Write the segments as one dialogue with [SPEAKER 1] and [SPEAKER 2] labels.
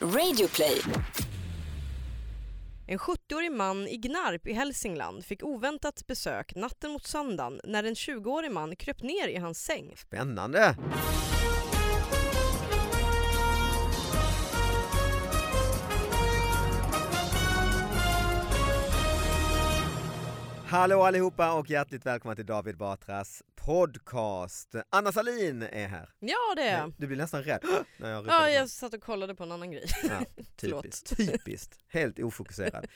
[SPEAKER 1] Radioplay.
[SPEAKER 2] En 70-årig man i Gnarp i Hälsingland fick oväntat besök natten mot söndagen när en 20-årig man kröp ner i hans säng.
[SPEAKER 3] Spännande! Hallå allihopa och hjärtligt välkomna till David Batras podcast. Anna Salin är här.
[SPEAKER 2] Ja det är jag.
[SPEAKER 3] Du blir nästan rädd när jag ropar
[SPEAKER 2] Ja,
[SPEAKER 3] ditt
[SPEAKER 2] jag satt och kollade på en annan grej.
[SPEAKER 3] Ja,
[SPEAKER 2] Förlåt.
[SPEAKER 3] typiskt, typiskt, helt ofokuserad.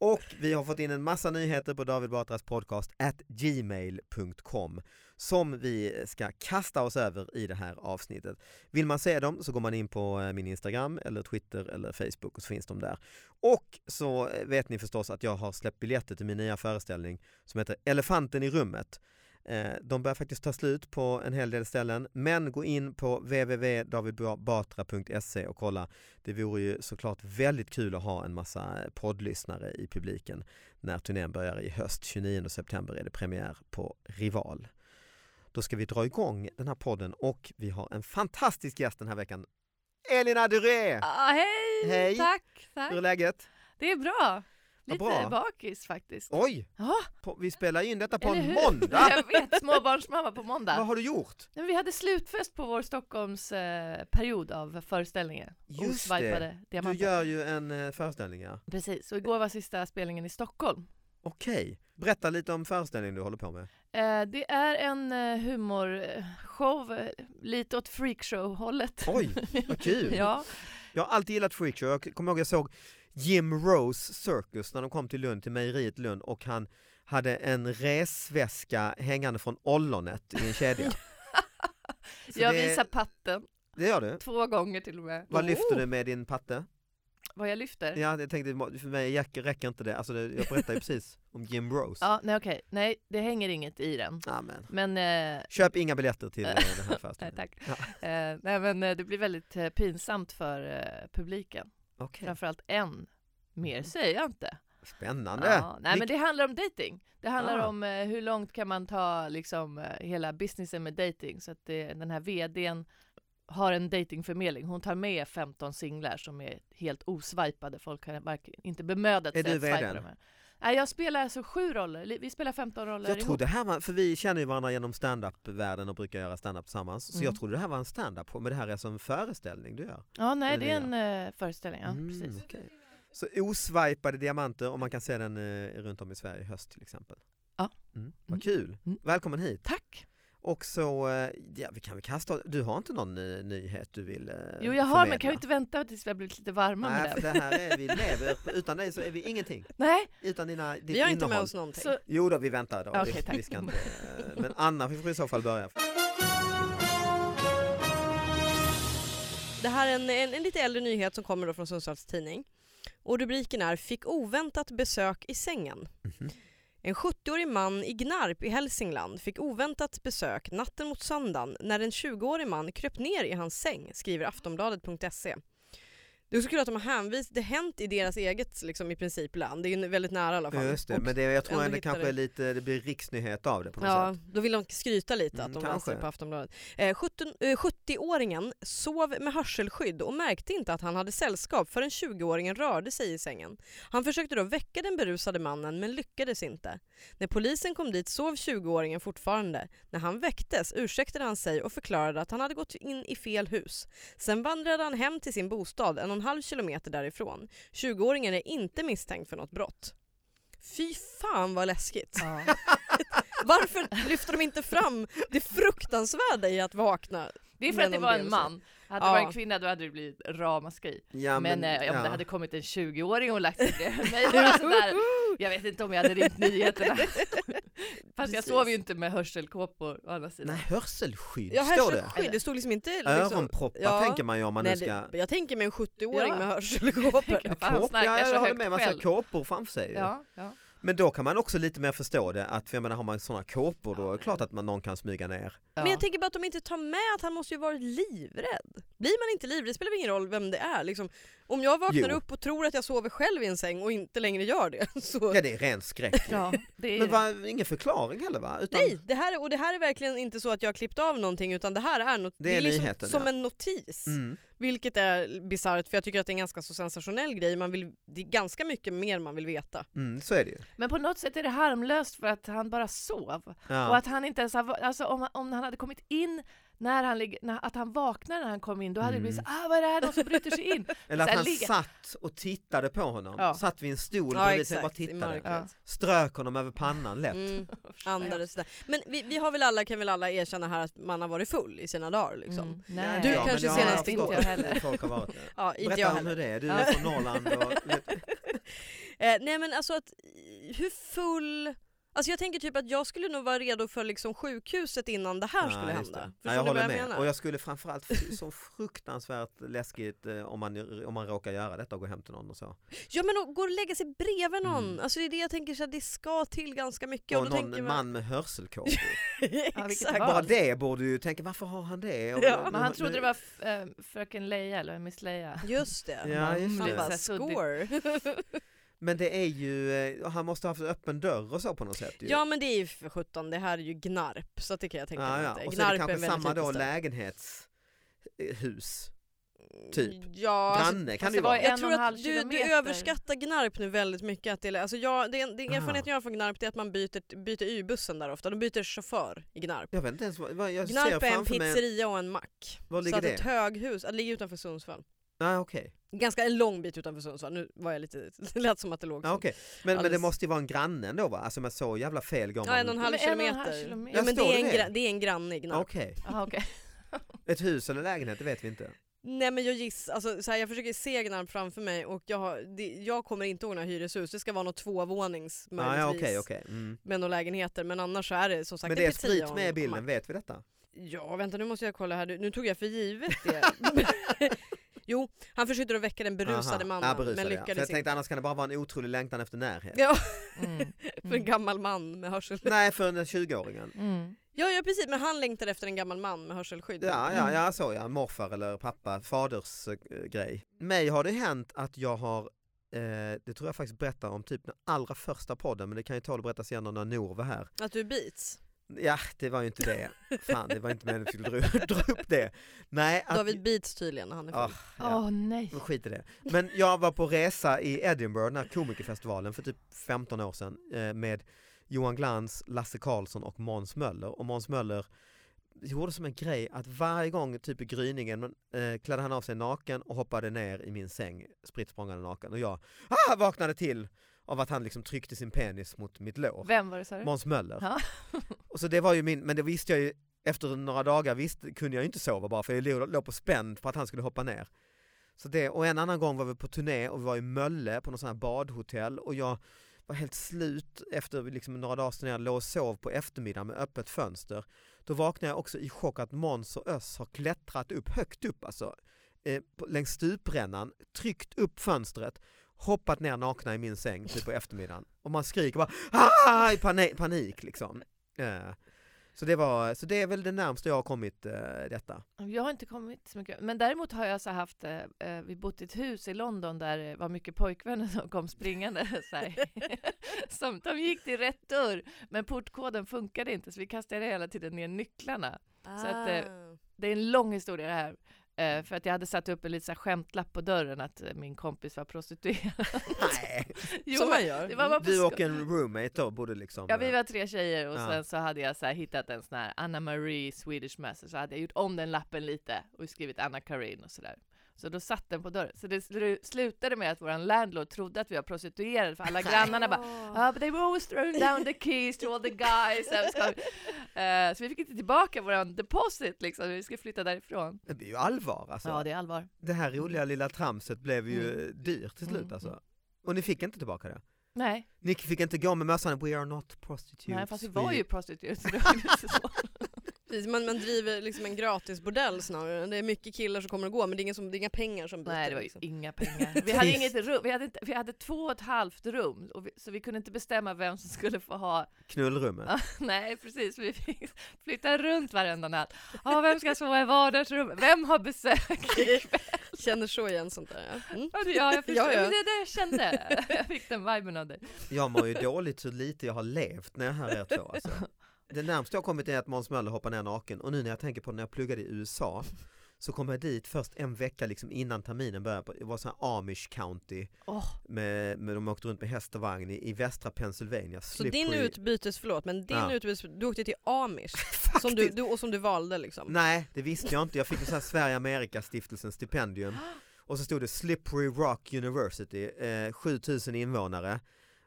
[SPEAKER 3] Och vi har fått in en massa nyheter på David Batras podcast at gmail.com som vi ska kasta oss över i det här avsnittet. Vill man se dem så går man in på eh, min Instagram eller Twitter eller Facebook och så finns de där. Och så eh, vet ni förstås att jag har släppt biljetter till min nya föreställning som heter Elefanten i rummet. Eh, De börjar faktiskt ta slut på en hel del ställen men gå in på www.davidbatra.se och kolla det vore ju såklart väldigt kul att ha en massa eh, poddlyssnare i publiken när turnén börjar i höst. 29 september är det premiär på Rival. Då ska vi dra igång den här podden och vi har en fantastisk gäst den här veckan. Elina Duré!
[SPEAKER 4] Ah, hej!
[SPEAKER 3] Hej.
[SPEAKER 4] Tack, tack.
[SPEAKER 3] Hur är läget?
[SPEAKER 4] Det är bra.
[SPEAKER 3] Vad
[SPEAKER 4] Lite
[SPEAKER 3] bra.
[SPEAKER 4] bakis faktiskt.
[SPEAKER 3] Oj,
[SPEAKER 4] Ja,
[SPEAKER 3] på, vi spelar in detta på
[SPEAKER 4] eller
[SPEAKER 3] en
[SPEAKER 4] hur?
[SPEAKER 3] måndag!
[SPEAKER 4] Jag vet, småbarnsmamma på
[SPEAKER 3] Vad
[SPEAKER 4] måndag.
[SPEAKER 3] har du gjort?
[SPEAKER 4] Men vi hade slutfest på vår Stockholms eh, period av föreställningen.
[SPEAKER 3] Just det,
[SPEAKER 4] Osvajpade
[SPEAKER 3] du
[SPEAKER 4] diamanter.
[SPEAKER 3] gör ju en eh, föreställning ja.
[SPEAKER 4] Precis, och igår var sista spelningen i Stockholm.
[SPEAKER 3] Okej, berätta lite om föreställningen du håller på med.
[SPEAKER 4] Eh, det är en eh, humorshow, eh, lite åt freakshow-hållet.
[SPEAKER 3] Oj, vad kul!
[SPEAKER 4] ja,
[SPEAKER 3] Jag har alltid gillat freakshow. Jag kommer ihåg jag såg Jim Rose Circus när de kom till Lund, till mejeriet Lund och han hade en resväska hängande från ollonet i en kedja. Så
[SPEAKER 4] jag
[SPEAKER 3] det-
[SPEAKER 4] visar patten
[SPEAKER 3] Det gör du.
[SPEAKER 4] två gånger till och med.
[SPEAKER 3] Vad lyfter
[SPEAKER 4] Oh,
[SPEAKER 3] du med din patte?
[SPEAKER 4] Vad jag lyfter? Ja,
[SPEAKER 3] Ja, jag tänkte, för mig räcker- räcker inte det. Alltså, det- jag berättade ju precis om Jim Rose.
[SPEAKER 4] nej okej, nej det hänger inget i den.
[SPEAKER 3] Amen.
[SPEAKER 4] Men eh,
[SPEAKER 3] Köp inga biljetter till eh, den här
[SPEAKER 4] Nej,
[SPEAKER 3] föreställningen.
[SPEAKER 4] tack. Eh, nej, men eh, det blir väldigt eh, pinsamt för eh, publiken.
[SPEAKER 3] Okej,
[SPEAKER 4] Framförallt en. Mer säger jag inte.
[SPEAKER 3] spännande.
[SPEAKER 4] Ja, nej, men
[SPEAKER 3] Vilk-
[SPEAKER 4] det handlar om dating. Det handlar
[SPEAKER 3] Ah.
[SPEAKER 4] om eh, hur långt kan man ta liksom, eh, hela businessen med dating. Så att det, den här vdn har en datingförmedling. Hon tar med 15 singlar som är helt osvajpade. Folk har varken- inte bemödat
[SPEAKER 3] Är
[SPEAKER 4] sig
[SPEAKER 3] du
[SPEAKER 4] att swipa
[SPEAKER 3] vd:n?
[SPEAKER 4] dem. här. Nej, jag spelar alltså sju roller. Li- Vi spelar 15 roller
[SPEAKER 3] Jag
[SPEAKER 4] ihop.
[SPEAKER 3] trodde det här var, för vi känner ju varandra genom standup-världen och brukar göra standup tillsammans, så
[SPEAKER 4] Mm.
[SPEAKER 3] jag trodde det här var en standup, men det här är alltså en föreställning du gör.
[SPEAKER 4] Ja, nej,
[SPEAKER 3] Eller
[SPEAKER 4] det är
[SPEAKER 3] det,
[SPEAKER 4] en eh, föreställning. Ja,
[SPEAKER 3] Mm,
[SPEAKER 4] precis.
[SPEAKER 3] okej. Så osvajpade diamanter och man kan se den eh, runt om i Sverige i höst till exempel.
[SPEAKER 4] Ja.
[SPEAKER 3] Mm, vad
[SPEAKER 4] Mm.
[SPEAKER 3] kul,
[SPEAKER 4] Mm.
[SPEAKER 3] välkommen hit.
[SPEAKER 4] Tack!
[SPEAKER 3] Och så, eh, ja, vi kan väl kasta, du har inte någon eh, nyhet du vill eh,
[SPEAKER 4] Jo jag har,
[SPEAKER 3] förmedla?
[SPEAKER 4] men kan vi inte vänta tills vi har blivit lite varma
[SPEAKER 3] Nej,
[SPEAKER 4] med
[SPEAKER 3] för
[SPEAKER 4] den?
[SPEAKER 3] det här är, vi lever, utan dig så är vi ingenting.
[SPEAKER 4] Nej,
[SPEAKER 3] Utan dina, ditt
[SPEAKER 2] Vi har inte med
[SPEAKER 3] innehåll.
[SPEAKER 2] oss någonting.
[SPEAKER 4] så,
[SPEAKER 3] Jo då, vi väntar då.
[SPEAKER 4] Okej,
[SPEAKER 3] vi,
[SPEAKER 4] tack.
[SPEAKER 3] vi ska inte, eh, men Anna vi får i så fall börja.
[SPEAKER 2] Det här är en, en, en lite äldre nyhet som kommer då från Sundsvalls tidning. Och rubriken är “Fick oväntat besök i sängen”.
[SPEAKER 3] Mhm.
[SPEAKER 2] En 70-årig man i Gnarp i Hälsingland fick oväntat besök natten mot söndagen när en 20-årig man kröp ner i hans säng, skriver Aftonbladet.se. Det är så kul att de har hänvisat, det har hänt i deras eget liksom, i princip land, det är ju väldigt nära i alla fall.
[SPEAKER 3] Just det,
[SPEAKER 2] Och-
[SPEAKER 3] men det, jag tror
[SPEAKER 4] Alltså,
[SPEAKER 2] ändå
[SPEAKER 3] ändå
[SPEAKER 2] hittar
[SPEAKER 3] kanske
[SPEAKER 2] det.
[SPEAKER 3] är lite, det blir riksnyhet av det på något
[SPEAKER 2] Ja,
[SPEAKER 3] sätt.
[SPEAKER 2] då vill de skryta lite att
[SPEAKER 3] Mm,
[SPEAKER 2] de
[SPEAKER 3] kanske.
[SPEAKER 2] läser på Aftonbladet. Eh, 17 eh, 70-åringen sov med hörselskydd och märkte inte att han hade sällskap förrän 20-åringen rörde sig i sängen. Han försökte då väcka den berusade mannen men lyckades inte. När polisen kom dit sov 20-åringen fortfarande. När han väcktes ursäktade han sig och förklarade att han hade gått in i fel hus. Sen vandrade han hem till sin bostad en och en halv kilometer därifrån. 20-åringen är inte misstänkt för något brott. Fy fan vad läskigt!
[SPEAKER 4] ja.
[SPEAKER 2] Varför lyfter de inte fram det fruktansvärda i att vakna?
[SPEAKER 4] Det är för
[SPEAKER 2] Men
[SPEAKER 4] att det
[SPEAKER 2] om
[SPEAKER 4] var
[SPEAKER 2] det
[SPEAKER 4] en
[SPEAKER 2] är så.
[SPEAKER 4] man. Hade
[SPEAKER 2] Ja.
[SPEAKER 4] det varit en kvinna då hade det blivit ramaskri.
[SPEAKER 3] Ja,
[SPEAKER 4] men eh, om
[SPEAKER 3] ja.
[SPEAKER 4] det hade kommit en 20-åring och lagt sig bredvid mig var det alltså sådär, jag vet inte om jag hade ringt nyheterna. Fast
[SPEAKER 2] Precis.
[SPEAKER 4] jag sov ju inte med hörselkåpor å andra sidan.
[SPEAKER 3] Nej, hörselskydd
[SPEAKER 2] Ja,
[SPEAKER 3] står det.
[SPEAKER 2] hörselskydd, det stod liksom inte... Liksom,
[SPEAKER 3] Öronproppar
[SPEAKER 2] ja.
[SPEAKER 3] tänker man ju om man
[SPEAKER 2] nej,
[SPEAKER 3] nu ska...
[SPEAKER 2] det, jag tänker mig en 70-åring
[SPEAKER 4] Ja.
[SPEAKER 2] med hörselkåpor.
[SPEAKER 4] Kan fan
[SPEAKER 3] Kåpor,
[SPEAKER 4] snarka
[SPEAKER 3] ja,
[SPEAKER 4] så
[SPEAKER 3] jag håller
[SPEAKER 4] högt
[SPEAKER 3] med, man ser
[SPEAKER 4] själv.
[SPEAKER 3] kåpor framför sig. ju.
[SPEAKER 4] Ja, ja.
[SPEAKER 3] Men då kan man också lite mer förstå det, att för jag menar, har man sådana kåpor då är det klart att man, någon kan smyga ner.
[SPEAKER 4] Ja.
[SPEAKER 2] Men jag tänker bara att de inte tar med att han måste ju varit livrädd. Blir man inte livrädd spelar väl ingen roll vem det är. Liksom, om jag vaknar
[SPEAKER 3] Jo.
[SPEAKER 2] upp och tror att jag sover själv i en säng och inte längre gör det så...
[SPEAKER 3] Ja, det är ren skräck.
[SPEAKER 4] ja, det är...
[SPEAKER 3] Men va, ingen förklaring heller va? Utan
[SPEAKER 2] Nej, det här, är- och det här är verkligen inte så att jag har klippt av någonting utan det här är, något,
[SPEAKER 3] Det är nyheten,
[SPEAKER 2] som
[SPEAKER 3] ja.
[SPEAKER 2] en notis.
[SPEAKER 3] Mm.
[SPEAKER 2] Vilket är bisarrt för jag tycker att det är en ganska så sensationell grej. Man vill, det är ganska mycket mer man vill veta.
[SPEAKER 3] Mm, så är det ju.
[SPEAKER 4] Men på något sätt är det harmlöst för att han bara sov.
[SPEAKER 3] Ja.
[SPEAKER 4] Och att han inte ens har, va- alltså om, om han hade kommit in när han ligger, när, att han vaknar när han kom in, då hade det blivit
[SPEAKER 3] Mm.
[SPEAKER 4] så ah vad är det här, någon som bryter sig in?
[SPEAKER 3] Eller att
[SPEAKER 4] så här
[SPEAKER 3] han
[SPEAKER 4] ligga-
[SPEAKER 3] satt och tittade på honom,
[SPEAKER 4] Ja.
[SPEAKER 3] satt vid en stol
[SPEAKER 2] Ja,
[SPEAKER 3] bredvid sig och bara
[SPEAKER 2] exakt, i
[SPEAKER 3] tittade.
[SPEAKER 2] mörkret.
[SPEAKER 4] Ja.
[SPEAKER 3] Strök honom över pannan lätt.
[SPEAKER 2] Mm, andades där. Men vi, vi har väl alla, kan väl alla erkänna här att man har varit full i sina dagar liksom.
[SPEAKER 4] Mm.
[SPEAKER 3] Ja,
[SPEAKER 4] Nej.
[SPEAKER 2] Du
[SPEAKER 3] ja, men
[SPEAKER 2] kanske
[SPEAKER 3] det har
[SPEAKER 2] senast
[SPEAKER 3] jag förstått
[SPEAKER 4] inte jag
[SPEAKER 3] att
[SPEAKER 4] heller.
[SPEAKER 3] Folk har varit.
[SPEAKER 2] Ja, inte jag
[SPEAKER 3] Berätta om
[SPEAKER 2] heller.
[SPEAKER 3] hur det är, du
[SPEAKER 2] Ja.
[SPEAKER 3] är från Norrland och
[SPEAKER 2] Eh, nej men alltså att, eh, hur full... Alltså jag tänker typ att jag skulle nog vara redo för liksom sjukhuset innan det här
[SPEAKER 3] Ja,
[SPEAKER 2] skulle
[SPEAKER 3] Ah, just det.
[SPEAKER 2] hända.
[SPEAKER 3] Ja, jag
[SPEAKER 2] du vad
[SPEAKER 3] håller med.
[SPEAKER 2] menar?
[SPEAKER 3] Och jag skulle framförallt, fy- så fruktansvärt läskigt eh, om man, om man råkar göra detta och gå hem till någon och så.
[SPEAKER 2] Ja men och går och lägga sig bredvid någon.
[SPEAKER 3] Mm.
[SPEAKER 2] Alltså det är det jag tänker, så här, det ska till ganska mycket. Och,
[SPEAKER 3] och
[SPEAKER 2] då
[SPEAKER 3] någon
[SPEAKER 2] tänker man...
[SPEAKER 3] man med hörselkåpor.
[SPEAKER 4] vilket
[SPEAKER 2] Exakt.
[SPEAKER 4] val.
[SPEAKER 3] Bara det borde du ju tänka, varför har han det? Och-
[SPEAKER 2] Ja.
[SPEAKER 4] Men han trodde det var f- eh, fröken Leia eller Miss Leia.
[SPEAKER 2] Just det.
[SPEAKER 3] Ja, just
[SPEAKER 2] Han
[SPEAKER 3] det.
[SPEAKER 2] bara
[SPEAKER 4] Så här
[SPEAKER 2] score.
[SPEAKER 3] Men det är ju, eh, han måste ha haft öppen dörr och så på något sätt. Ju.
[SPEAKER 2] ja men det är ju för sjutton, det här är ju Gnarp. Så att det kan jag tänka
[SPEAKER 3] Ja,
[SPEAKER 2] mig
[SPEAKER 3] ja.
[SPEAKER 2] att det är.
[SPEAKER 3] Och så är det
[SPEAKER 2] Gnarp
[SPEAKER 3] kanske
[SPEAKER 2] en väldigt
[SPEAKER 3] samma
[SPEAKER 2] liten
[SPEAKER 3] då
[SPEAKER 2] stad.
[SPEAKER 3] lägenhetshus. typ.
[SPEAKER 2] Ja, alltså,
[SPEAKER 3] Granne kan
[SPEAKER 4] fast
[SPEAKER 3] det ju
[SPEAKER 4] det var
[SPEAKER 3] vara.
[SPEAKER 4] en
[SPEAKER 2] jag
[SPEAKER 4] och
[SPEAKER 2] tror
[SPEAKER 4] en
[SPEAKER 2] att
[SPEAKER 4] halv
[SPEAKER 2] du, du
[SPEAKER 4] kilometer.
[SPEAKER 2] överskattar Gnarp nu väldigt mycket. Att det, är- alltså jag, det, det,
[SPEAKER 3] Ah.
[SPEAKER 2] erfarenheten jag har från Gnarp det är att man byter, byter Y-bussen där ofta. De byter chaufför i Gnarp.
[SPEAKER 3] Jag vet inte ens vad, vad jag ser
[SPEAKER 2] Gnarp är en
[SPEAKER 3] framför mig.
[SPEAKER 2] pizzeria och en mack.
[SPEAKER 3] Var
[SPEAKER 2] Så
[SPEAKER 3] ligger
[SPEAKER 2] att
[SPEAKER 3] det?
[SPEAKER 2] ett höghus, det ligger utanför Sundsvall.
[SPEAKER 3] Nej okej.
[SPEAKER 2] Ganska en lång bit utanför Sundsvall. Nu var jag lite, det lät som att det låg
[SPEAKER 3] Ja,
[SPEAKER 2] så.
[SPEAKER 3] okej. men, men det
[SPEAKER 2] Alldeles-
[SPEAKER 3] måste ju vara en granne då va? Alltså med så jävla fel går
[SPEAKER 2] Ja, en och en
[SPEAKER 3] inte.
[SPEAKER 2] halv
[SPEAKER 4] Ja, men en och en halv
[SPEAKER 2] kilometer.
[SPEAKER 4] kilometer.
[SPEAKER 2] Ja,
[SPEAKER 3] Ja,
[SPEAKER 2] men det
[SPEAKER 3] står
[SPEAKER 2] är, en
[SPEAKER 3] det det?
[SPEAKER 2] gra- det är en granne i Gnarp.
[SPEAKER 3] Okej,
[SPEAKER 4] Aha, okej.
[SPEAKER 3] ett hus eller lägenhet det vet vi inte.
[SPEAKER 2] Nej men jag gissar, alltså, så här, jag försöker se Gnarp framför mig och jag, har, det, jag kommer inte ihåg några hyreshus. Det ska vara något tvåvånings
[SPEAKER 3] Ah, ja,
[SPEAKER 2] möjligtvis.
[SPEAKER 3] okej, okej. mm.
[SPEAKER 2] med några lägenheter men annars så är det som sagt
[SPEAKER 3] Men
[SPEAKER 2] en
[SPEAKER 3] det är
[SPEAKER 2] pizzeria
[SPEAKER 3] sprit
[SPEAKER 2] och
[SPEAKER 3] med i
[SPEAKER 2] en
[SPEAKER 3] bilden,
[SPEAKER 2] mack.
[SPEAKER 3] vet vi detta?
[SPEAKER 2] Ja vänta nu måste jag kolla här, nu tog jag för givet det. jo, han försökte då väcka den berusade
[SPEAKER 3] Aha.
[SPEAKER 2] mannen
[SPEAKER 3] ja, berusade,
[SPEAKER 2] men
[SPEAKER 3] ja. För
[SPEAKER 2] lyckades
[SPEAKER 3] Jag
[SPEAKER 2] inte.
[SPEAKER 3] tänkte annars kan det bara vara en otrolig längtan efter närhet.
[SPEAKER 2] Ja,
[SPEAKER 4] Mm.
[SPEAKER 2] för en gammal man med hörsel...
[SPEAKER 3] Nej, för den 20-åringen.
[SPEAKER 4] Mm.
[SPEAKER 2] Ja, ja precis, men han längtar efter en gammal man med hörselskydd.
[SPEAKER 3] Ja, ja, ja, så ja. Morfar eller pappa, faders eh, grej. Mig har det hänt att jag har, eh, det tror jag faktiskt berättar om typ den allra första podden, men det kan ju tål att berättas igen när Nour var här.
[SPEAKER 2] Att du bits.
[SPEAKER 3] Ja, det var ju inte det. Fan, det var inte meningen att vi skulle dra, dra upp det. Nej, att,
[SPEAKER 2] David bits tydligen när han är
[SPEAKER 3] Ah,
[SPEAKER 2] full.
[SPEAKER 4] Åh
[SPEAKER 3] ja.
[SPEAKER 4] nej.
[SPEAKER 3] Men skit i det. Men jag var på resa i Edinburgh, den här komikerfestivalen för typ 15 år sedan eh, med Johan Glans, Lasse Karlsson och Måns Möller. Och Måns Möller gjorde som en grej att varje gång typ i gryningen eh, klädde han av sig naken och hoppade ner i min säng spritt språngande naken. Och jag ah, vaknade till av att han liksom tryckte sin penis mot mitt lår.
[SPEAKER 4] Vem var det sa du?
[SPEAKER 3] Måns Möller.
[SPEAKER 4] Ja.
[SPEAKER 3] Och så det var ju min, men det visste jag ju efter några dagar visste, kunde jag ju inte sova bara för jag låg, låg på spänd på att han skulle hoppa ner. Så det, och en annan gång var vi på turné och vi var i Mölle på något sånt här badhotell och jag var helt slut efter liksom några dagars turné, låg och sov på eftermiddagen med öppet fönster. Då vaknade jag också i chock att Måns och Öss har klättrat upp, högt upp alltså, eh, på, längs stuprännan, tryckt upp fönstret, hoppat ner nakna i min säng typ på eftermiddagen. Och man skriker bara ah, i panik, panik liksom. Eh, Så det, var, så det är väl det närmaste jag har kommit eh, detta.
[SPEAKER 4] Jag har inte kommit så mycket. Men däremot har jag så haft, eh, eh, vi bott i ett hus i London där det var mycket pojkvänner som kom springande. Så här. som, de gick till rätt dörr, men portkoden funkade inte så vi kastade hela tiden ner nycklarna.
[SPEAKER 3] Ah.
[SPEAKER 4] Så att, eh, Det är en lång historia det här. Eh, för att jag hade satt upp en liten så här skämtlapp på dörren att eh, min kompis var prostituerad.
[SPEAKER 3] Nej.
[SPEAKER 4] Jo,
[SPEAKER 2] Som man gör. Mm.
[SPEAKER 4] det var bara på
[SPEAKER 3] Du
[SPEAKER 4] sko-
[SPEAKER 3] och en roommate då borde liksom...
[SPEAKER 4] Ja, vi
[SPEAKER 3] eh,
[SPEAKER 4] var tre tjejer och
[SPEAKER 3] Ja.
[SPEAKER 4] sen så hade jag så här hittat en sån här Anna Marie Swedish Master, så hade jag gjort om den lappen lite och skrivit Anna Karin och sådär. Så då satt den på dörren. Så det slu- slutade med att våran landlord trodde att vi var prostituerade för alla grannarna bara ah but they were always throwing down the keys to all the guys. Så, ska vi- Eh, så vi fick inte tillbaka våran deposit liksom, vi skulle flytta därifrån.
[SPEAKER 3] eh, Det blir ju allvar alltså.
[SPEAKER 4] Ja, det är allvar.
[SPEAKER 3] Det här roliga lilla tramset blev ju
[SPEAKER 4] Mm.
[SPEAKER 3] eh, dyrt till slut
[SPEAKER 4] Mm,
[SPEAKER 3] alltså. Och ni fick inte tillbaka det?
[SPEAKER 4] Nej,
[SPEAKER 3] Ni fick inte gå med mössan “We are not prostitutes”?
[SPEAKER 4] nej fast vi var
[SPEAKER 3] we-
[SPEAKER 4] ju prostituerade. så det var ju inte så.
[SPEAKER 2] Precis, man, man driver liksom en gratis bordell snarare. Det är mycket killar som kommer och går men det är, ingen som, det är inga pengar som byter.
[SPEAKER 4] Nej, det var ju
[SPEAKER 2] liksom.
[SPEAKER 4] inga pengar. Vi hade
[SPEAKER 3] Trist.
[SPEAKER 4] inget rum, vi hade, inte, vi hade två och ett halvt rum, och vi, så vi kunde inte bestämma vem som skulle få ha.
[SPEAKER 3] Knullrummet.
[SPEAKER 4] Nej, precis, vi fick flytta runt varenda natt. Ja, vem ska sova i vardagsrummet? Vem har besök ikväll?
[SPEAKER 2] Känner så igen sånt där. Ja. Mm.
[SPEAKER 4] Ja, det- ja, jag förstår.
[SPEAKER 2] Ja, ja.
[SPEAKER 4] Men det är det jag kände. Jag fick den viben av dig.
[SPEAKER 3] Jag mår ju dåligt så lite jag har levt när jag hör er två alltså. Det närmaste jag har kommit är att Måns Möller hoppar ner naken och nu när jag tänker på när jag pluggade i USA Så kom jag dit först en vecka liksom innan terminen började. på- Det var så här Amish County.
[SPEAKER 4] Åh,
[SPEAKER 3] Med, med, de åkte runt med häst och vagn i, i västra Pennsylvania.
[SPEAKER 2] Så din
[SPEAKER 3] Slippery-
[SPEAKER 2] utbytes, förlåt, men din
[SPEAKER 3] Ja.
[SPEAKER 2] utbytes, du åkte till Amish som du,
[SPEAKER 3] Faktiskt.
[SPEAKER 2] du, och som du valde liksom.
[SPEAKER 3] Nej, det visste jag inte. Jag fick ju så här Sverige-Amerika-stiftelsens stipendium. Och så stod det Slippery Rock University, eh, 7000 invånare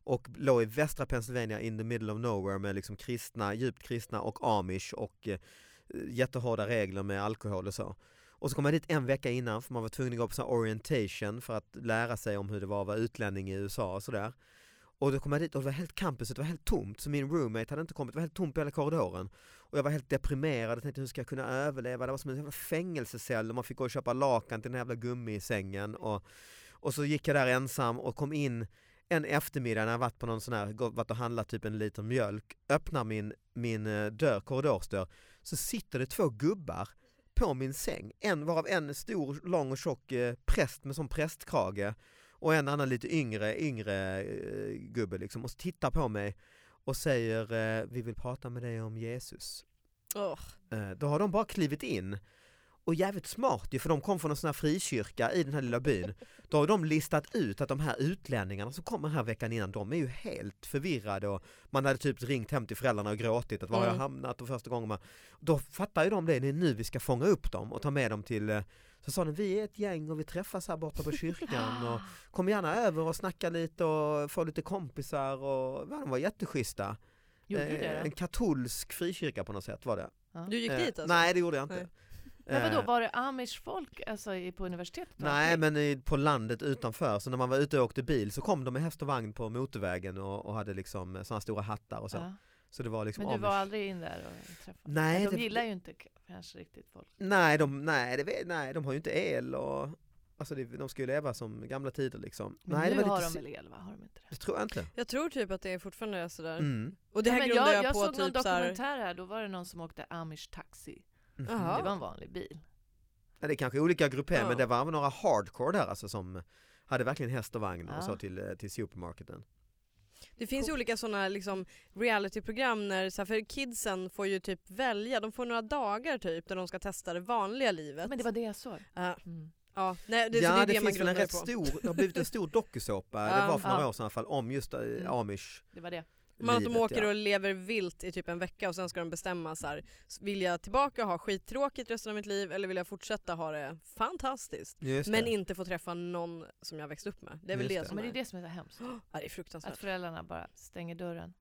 [SPEAKER 3] och låg i västra Pennsylvania in the middle of nowhere med liksom kristna, djupt kristna och amish och eh, jättehårda regler med alkohol och så. Och så kom jag dit en vecka innan för man var tvungen att gå på så här orientation för att lära sig om hur det var att vara utlänning i USA och sådär. Och då kom jag dit och det var helt campuset var helt tomt så min roommate hade inte kommit, det var helt tomt i hela korridoren. Och jag var helt deprimerad och tänkte hur ska jag kunna överleva? Det var som en jävla fängelsecell och man fick gå och köpa lakan till den här jävla gummisängen. Och, och så gick jag där ensam och kom in en eftermiddag när jag varit på någon sån här, gå- varit och handlat typ en liter mjölk, öppnar min, min eh, dörr, korridorsdörr, så sitter det två gubbar på min säng. En varav en stor, lång och tjock eh, präst med sån prästkrage och en annan lite yngre, yngre eh, gubbe liksom och tittar på mig och säger eh, vi vill prata med dig om Jesus.
[SPEAKER 2] Åh,
[SPEAKER 3] Eh, Då har de bara klivit in. Och jävligt smart ju, för de kom från en sån här frikyrka i den här lilla byn. Då har de listat ut att de här utlänningarna som kommer här veckan innan, de är ju helt förvirrade och man hade typ ringt hem till föräldrarna och gråtit att var har jag
[SPEAKER 2] Mm.
[SPEAKER 3] hamnat och första gången man... Då fattar ju de det, det är nu vi ska fånga upp dem och ta med dem till... eh, Så sa de, vi är ett gäng och vi träffas här borta på
[SPEAKER 4] Ah.
[SPEAKER 3] kyrkan och kom gärna över och snacka lite och få lite kompisar och ja, de var jätteschyssta.
[SPEAKER 4] gjorde du
[SPEAKER 3] Eh,
[SPEAKER 4] det?
[SPEAKER 3] En katolsk frikyrka på något sätt var det.
[SPEAKER 2] du gick dit
[SPEAKER 3] Eh,
[SPEAKER 2] alltså?
[SPEAKER 3] Nej det gjorde jag inte.
[SPEAKER 2] Nej.
[SPEAKER 4] Men vadå,
[SPEAKER 3] Eh,
[SPEAKER 4] var det amish folk alltså, i- på universitetet? då?
[SPEAKER 3] Nej men i- på landet utanför, så när man var ute och åkte bil så kom de med häst och vagn på motorvägen och, och hade liksom sådana stora hattar och så.
[SPEAKER 4] Ja.
[SPEAKER 3] Så det var liksom
[SPEAKER 4] Men du
[SPEAKER 3] amish.
[SPEAKER 4] var aldrig in där och träffade?
[SPEAKER 3] Nej,
[SPEAKER 4] de
[SPEAKER 3] det-
[SPEAKER 4] gillar ju inte k- kanske riktigt folk.
[SPEAKER 3] Nej, de, nej, det, vet- nej, de har ju inte el och alltså det, de ska ju leva som gamla tider liksom.
[SPEAKER 4] Men
[SPEAKER 3] nej,
[SPEAKER 4] nu
[SPEAKER 3] det var
[SPEAKER 4] har
[SPEAKER 3] lite
[SPEAKER 4] de
[SPEAKER 3] si-
[SPEAKER 4] väl el va? Har de inte det?
[SPEAKER 3] Det tror jag inte.
[SPEAKER 2] Jag tror typ att det är fortfarande är sådär.
[SPEAKER 3] Mm.
[SPEAKER 2] Och det här
[SPEAKER 4] men
[SPEAKER 2] grundar jag,
[SPEAKER 4] jag
[SPEAKER 2] på
[SPEAKER 4] såg någon
[SPEAKER 2] typ såhär,
[SPEAKER 4] dokumentär här, då var det någon som åkte amish taxi.
[SPEAKER 3] Mhm.
[SPEAKER 2] Jaha.
[SPEAKER 4] Det var en vanlig bil.
[SPEAKER 3] Ja, det är kanske olika grupper
[SPEAKER 2] Ja.
[SPEAKER 3] men det var några hardcore där alltså som hade verkligen häst och vagn
[SPEAKER 4] Ja.
[SPEAKER 3] och så till, eh, till supermarketen.
[SPEAKER 2] det finns ju
[SPEAKER 4] Cool.
[SPEAKER 2] olika sådana liksom realityprogram när, så här, för kidsen får ju typ välja, de får några dagar typ där de ska testa det vanliga livet.
[SPEAKER 4] Men det var det jag såg.
[SPEAKER 2] Ja,
[SPEAKER 4] Mm.
[SPEAKER 2] ja, nej, det,
[SPEAKER 3] ja,
[SPEAKER 2] så det är
[SPEAKER 3] det,
[SPEAKER 2] det, man
[SPEAKER 3] finns väl
[SPEAKER 2] grundar
[SPEAKER 3] en
[SPEAKER 2] det
[SPEAKER 3] rätt
[SPEAKER 2] på.
[SPEAKER 3] stor, det har blivit en stor dokusåpa,
[SPEAKER 2] Ja.
[SPEAKER 3] det var för några
[SPEAKER 4] Ja.
[SPEAKER 3] år sedan i alla fall, om just eh,
[SPEAKER 4] Mm.
[SPEAKER 3] amish
[SPEAKER 4] Det var det.
[SPEAKER 2] Man att de
[SPEAKER 3] livet,
[SPEAKER 2] åker
[SPEAKER 3] ja.
[SPEAKER 2] och lever vilt i typ en vecka och sen ska de bestämma så här, vill jag tillbaka och ha skittråkigt resten av mitt liv eller vill jag fortsätta ha det fantastiskt?
[SPEAKER 3] Just
[SPEAKER 2] Men
[SPEAKER 3] det.
[SPEAKER 2] inte få träffa någon som jag växt upp med. Det är väl
[SPEAKER 3] Just
[SPEAKER 2] det,
[SPEAKER 3] det.
[SPEAKER 2] som
[SPEAKER 4] Men det
[SPEAKER 2] är...
[SPEAKER 4] är det som är så hemskt.
[SPEAKER 2] Ja, det är
[SPEAKER 4] Att
[SPEAKER 2] fruktansvärt.
[SPEAKER 4] föräldrarna bara stänger dörren.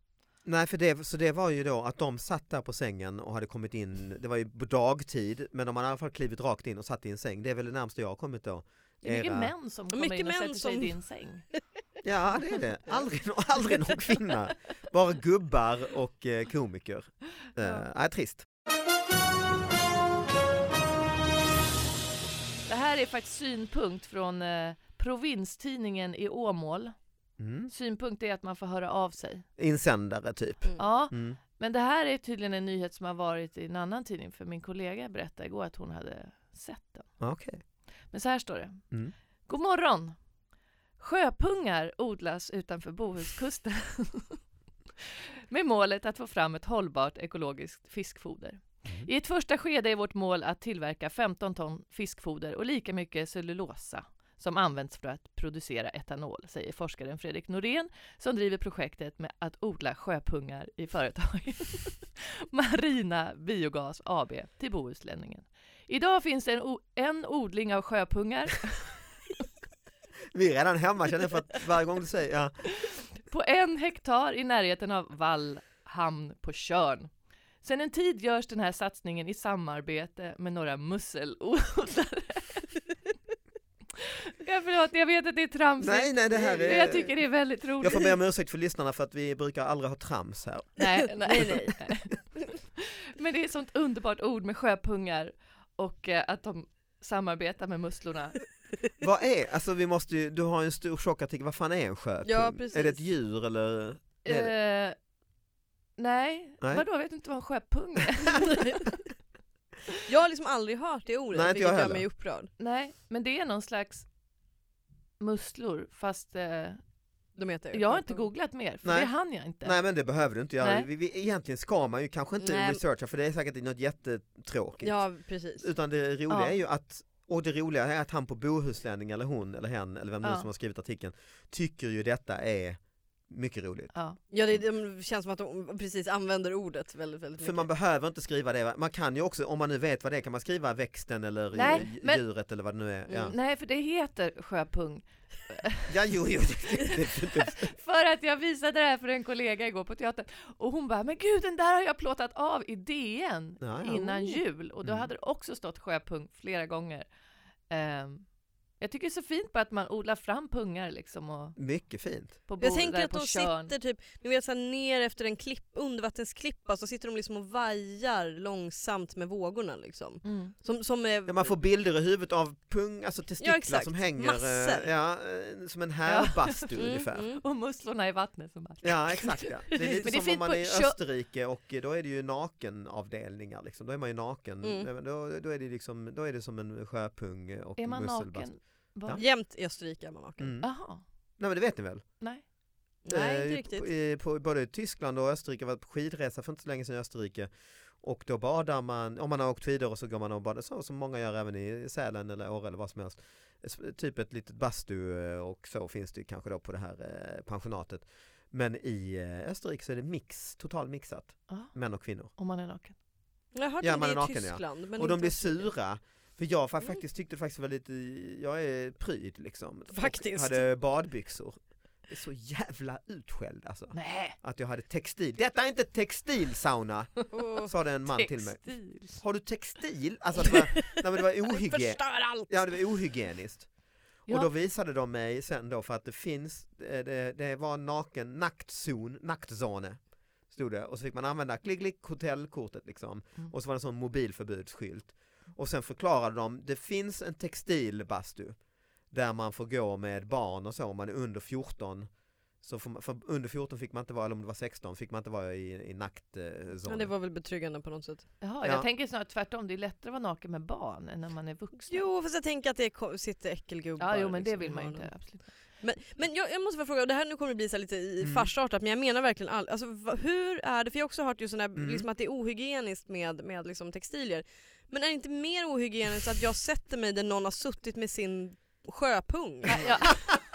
[SPEAKER 3] Nej, för det, så det var ju då att de satt där på sängen och hade kommit in, det var ju på dagtid, men de hade i alla fall klivit rakt in och satt i en säng. Det är väl det närmaste jag har kommit då.
[SPEAKER 4] Det är mycket
[SPEAKER 3] Era-
[SPEAKER 4] män som kommer
[SPEAKER 2] Mycket
[SPEAKER 4] in och
[SPEAKER 2] män
[SPEAKER 4] sätter sig
[SPEAKER 2] som-
[SPEAKER 4] i din säng.
[SPEAKER 3] Ja, det är det. Aldrig, nå- aldrig någon kvinna. Bara gubbar och eh, komiker. Eh,
[SPEAKER 4] Ja.
[SPEAKER 3] nej, trist.
[SPEAKER 4] Det här är faktiskt synpunkt från eh, provinstidningen i Åmål.
[SPEAKER 3] Mm.
[SPEAKER 4] Synpunkt är att man får höra av sig.
[SPEAKER 3] Insändare typ.
[SPEAKER 2] Mm.
[SPEAKER 4] Ja,
[SPEAKER 3] Mm.
[SPEAKER 4] men det här är tydligen en nyhet som har varit i en annan tidning för min kollega berättade igår att hon hade sett den.
[SPEAKER 3] Okej.
[SPEAKER 4] Men så här står det.
[SPEAKER 3] Mm.
[SPEAKER 4] God morgon! Sjöpungar odlas utanför Bohuskusten med målet att få fram ett hållbart ekologiskt fiskfoder. I ett första skede är vårt mål att tillverka 15 ton fiskfoder och lika mycket cellulosa som används för att producera etanol, säger forskaren Fredrik Norén som driver projektet med att odla sjöpungar i företaget Marina Biogas AB till Bohuslänningen. Idag finns det en, o- en odling av sjöpungar
[SPEAKER 3] Vi är redan hemma känner jag för att varje gång du säger ja.
[SPEAKER 4] på en hektar i närheten av Vallhamn på Tjörn. Sedan en tid görs den här satsningen i samarbete med några musselodlare. Jag förlåt, jag vet att det är tramsigt.
[SPEAKER 3] Nej, nej, det här
[SPEAKER 4] men
[SPEAKER 3] är...
[SPEAKER 4] Jag tycker det är väldigt roligt.
[SPEAKER 3] jag får be om ursäkt för lyssnarna för att vi brukar aldrig ha trams här.
[SPEAKER 4] Nej, nej, nej. Men det är ett sånt underbart ord med sjöpungar och eh, att de samarbetar med musslorna.
[SPEAKER 3] Vad är, alltså vi måste ju, du har ju en stor chockartikel, vad fan är en sjöpung?
[SPEAKER 2] Ja, precis.
[SPEAKER 3] Är det ett djur eller? Är det-
[SPEAKER 4] Eh, nej,
[SPEAKER 3] Nej.
[SPEAKER 4] vadå, vet du inte vad en sjöpung är?
[SPEAKER 2] jag har liksom aldrig hört det ordet,
[SPEAKER 3] Nej, inte
[SPEAKER 2] vilket
[SPEAKER 3] jag
[SPEAKER 2] gör
[SPEAKER 3] heller.
[SPEAKER 2] mig upprörd.
[SPEAKER 4] Nej, men det är någon slags musslor fast eh,
[SPEAKER 2] De heter
[SPEAKER 4] Jag har inte googlat mer, för
[SPEAKER 3] Nej.
[SPEAKER 4] det hann jag inte.
[SPEAKER 3] Nej men det behöver du inte göra.
[SPEAKER 4] Nej.
[SPEAKER 3] Vi, vi, egentligen ska man ju kanske inte
[SPEAKER 2] Nej.
[SPEAKER 3] researcha för det är säkert något jättetråkigt.
[SPEAKER 2] Ja, precis.
[SPEAKER 3] Utan det roliga
[SPEAKER 4] Ja.
[SPEAKER 3] är ju att och det roliga är att han på Bohuslänning eller hon eller hen eller vem nu
[SPEAKER 4] Ja.
[SPEAKER 3] som har skrivit artikeln tycker ju detta är mycket roligt.
[SPEAKER 4] Ja.
[SPEAKER 2] Ja, det, det känns som att de precis använder ordet väldigt, väldigt
[SPEAKER 3] För
[SPEAKER 2] mycket.
[SPEAKER 3] man behöver inte skriva det, va? man kan ju också om man nu vet vad det är kan man skriva växten eller
[SPEAKER 4] Nej,
[SPEAKER 3] dj-
[SPEAKER 4] men-
[SPEAKER 3] djuret eller vad det nu är. Ja,
[SPEAKER 2] Mm.
[SPEAKER 4] Nej, för det heter sjöpung.
[SPEAKER 3] ja jo, jo. det- det- det-
[SPEAKER 4] För att jag visade det här för en kollega igår på teatern och hon bara, men gud den där har jag plåtat av i DN
[SPEAKER 3] Ja, ja.
[SPEAKER 4] innan jul och då
[SPEAKER 3] Mm.
[SPEAKER 4] hade det också stått sjöpung flera gånger. Ehm, jag tycker det är så fint bara att man odlar fram pungar liksom och
[SPEAKER 3] Mycket fint.
[SPEAKER 4] på bord
[SPEAKER 2] Jag tänker
[SPEAKER 4] där
[SPEAKER 2] att
[SPEAKER 4] på
[SPEAKER 2] de
[SPEAKER 4] Tjörn.
[SPEAKER 2] sitter typ, ni vet så här, ner efter en klipp, undervattensklippa så sitter de liksom och vajar långsamt med vågorna liksom.
[SPEAKER 4] Mm.
[SPEAKER 2] Som, som är,
[SPEAKER 3] Ja, man får bilder i huvudet av pung, alltså testiklar
[SPEAKER 2] exakt.
[SPEAKER 3] som hänger
[SPEAKER 2] Massor.
[SPEAKER 3] eh, ja, eh, som en härbastu
[SPEAKER 2] Mm,
[SPEAKER 3] ungefär.
[SPEAKER 2] mm.
[SPEAKER 4] Och musslorna i vattnet. Som bara...
[SPEAKER 3] Ja exakt ja. Det är lite
[SPEAKER 4] Men det
[SPEAKER 3] som
[SPEAKER 4] är
[SPEAKER 3] om
[SPEAKER 4] fint
[SPEAKER 3] man
[SPEAKER 4] på
[SPEAKER 3] är i
[SPEAKER 4] kö-
[SPEAKER 3] Österrike och då är det ju nakenavdelningar liksom. Då är man ju naken,
[SPEAKER 2] Mm.
[SPEAKER 3] Nej, men då, då, är det liksom, då är det som en sjöpung och
[SPEAKER 4] Är man
[SPEAKER 3] musselbastu.
[SPEAKER 4] naken? Var?
[SPEAKER 2] Jämt i Österrike är man naken.
[SPEAKER 3] Mm.
[SPEAKER 4] Jaha,
[SPEAKER 3] Nej men det vet ni väl?
[SPEAKER 4] nej.
[SPEAKER 2] Nej,
[SPEAKER 3] Eh,
[SPEAKER 2] inte
[SPEAKER 3] i-
[SPEAKER 2] riktigt.
[SPEAKER 3] i- På, både i Tyskland och Österrike, jag var på skidresa för inte så länge sedan i Österrike och då badar man, om man har åkt skidor och så går man och badar så som många gör även i Sälen eller Åre eller vad som helst. S- Typ ett litet bastu eh, och så finns det ju kanske då på det här eh, pensionatet. Men i eh, Österrike så är det mix, total mixat,
[SPEAKER 2] Ah.
[SPEAKER 4] Ja,
[SPEAKER 3] män och kvinnor.
[SPEAKER 4] om man är naken.
[SPEAKER 2] Jag hörde
[SPEAKER 3] Ja,
[SPEAKER 2] om
[SPEAKER 3] man
[SPEAKER 2] det
[SPEAKER 3] är
[SPEAKER 2] i
[SPEAKER 3] naken, ja.
[SPEAKER 2] Tyskland. Men
[SPEAKER 3] och de
[SPEAKER 2] inte
[SPEAKER 3] blir
[SPEAKER 2] Österrike.
[SPEAKER 3] sura. För jag fa-
[SPEAKER 2] Mm.
[SPEAKER 3] faktiskt tyckte det faktiskt var lite, jag är pryd liksom. Och
[SPEAKER 2] Faktiskt.
[SPEAKER 3] Hade badbyxor. Så jävla utskälld alltså
[SPEAKER 4] Nej,
[SPEAKER 3] att jag hade textil. Detta är inte textilsauna,
[SPEAKER 2] Åh,
[SPEAKER 3] sa det en man till mig.
[SPEAKER 4] textil.
[SPEAKER 3] Har du textil? Alltså att det var, nej, men det var, ohygien...
[SPEAKER 2] Förstör allt!
[SPEAKER 3] ja, det var ohygieniskt.
[SPEAKER 4] Ja.
[SPEAKER 3] Och då visade de mig sen då för att det finns, eh, det, det var naken, naktzon, naktzone stod det och så fick man använda klick klick hotellkortet liksom
[SPEAKER 4] Mm.
[SPEAKER 3] och så var det en sån mobilförbudsskylt och sen förklarade de, det finns en textilbastu där man får gå med barn och så om man är under 14 så får man, för under 14 fick man inte vara, eller om det var 16 fick man inte vara i, i
[SPEAKER 2] Men
[SPEAKER 3] naktzonen.
[SPEAKER 2] det var väl betryggande på något sätt.
[SPEAKER 4] Jaha,
[SPEAKER 3] Ja.
[SPEAKER 4] jag tänker snarare tvärtom. Det är lättare att vara naken med barn än när man är vuxen.
[SPEAKER 2] Jo, fast jag tänker att det ko- sitter äckelgubbar.
[SPEAKER 4] ja, jo, men det
[SPEAKER 2] liksom
[SPEAKER 4] vill
[SPEAKER 2] i
[SPEAKER 4] man ju
[SPEAKER 2] hörnen.
[SPEAKER 4] inte. Absolut.
[SPEAKER 2] Men, men jag, jag måste bara fråga, och det här nu kommer det bli så här lite i
[SPEAKER 3] Mm.
[SPEAKER 2] farsartat, men jag menar verkligen all, alltså, va, hur är det, för jag har också hört just sån här,
[SPEAKER 3] Mm.
[SPEAKER 2] liksom att det är ohygieniskt med, med liksom textilier. Men är det inte mer ohygieniskt att jag sätter mig där någon har suttit med sin sjöpung?
[SPEAKER 3] Mm.
[SPEAKER 4] Nej, jag,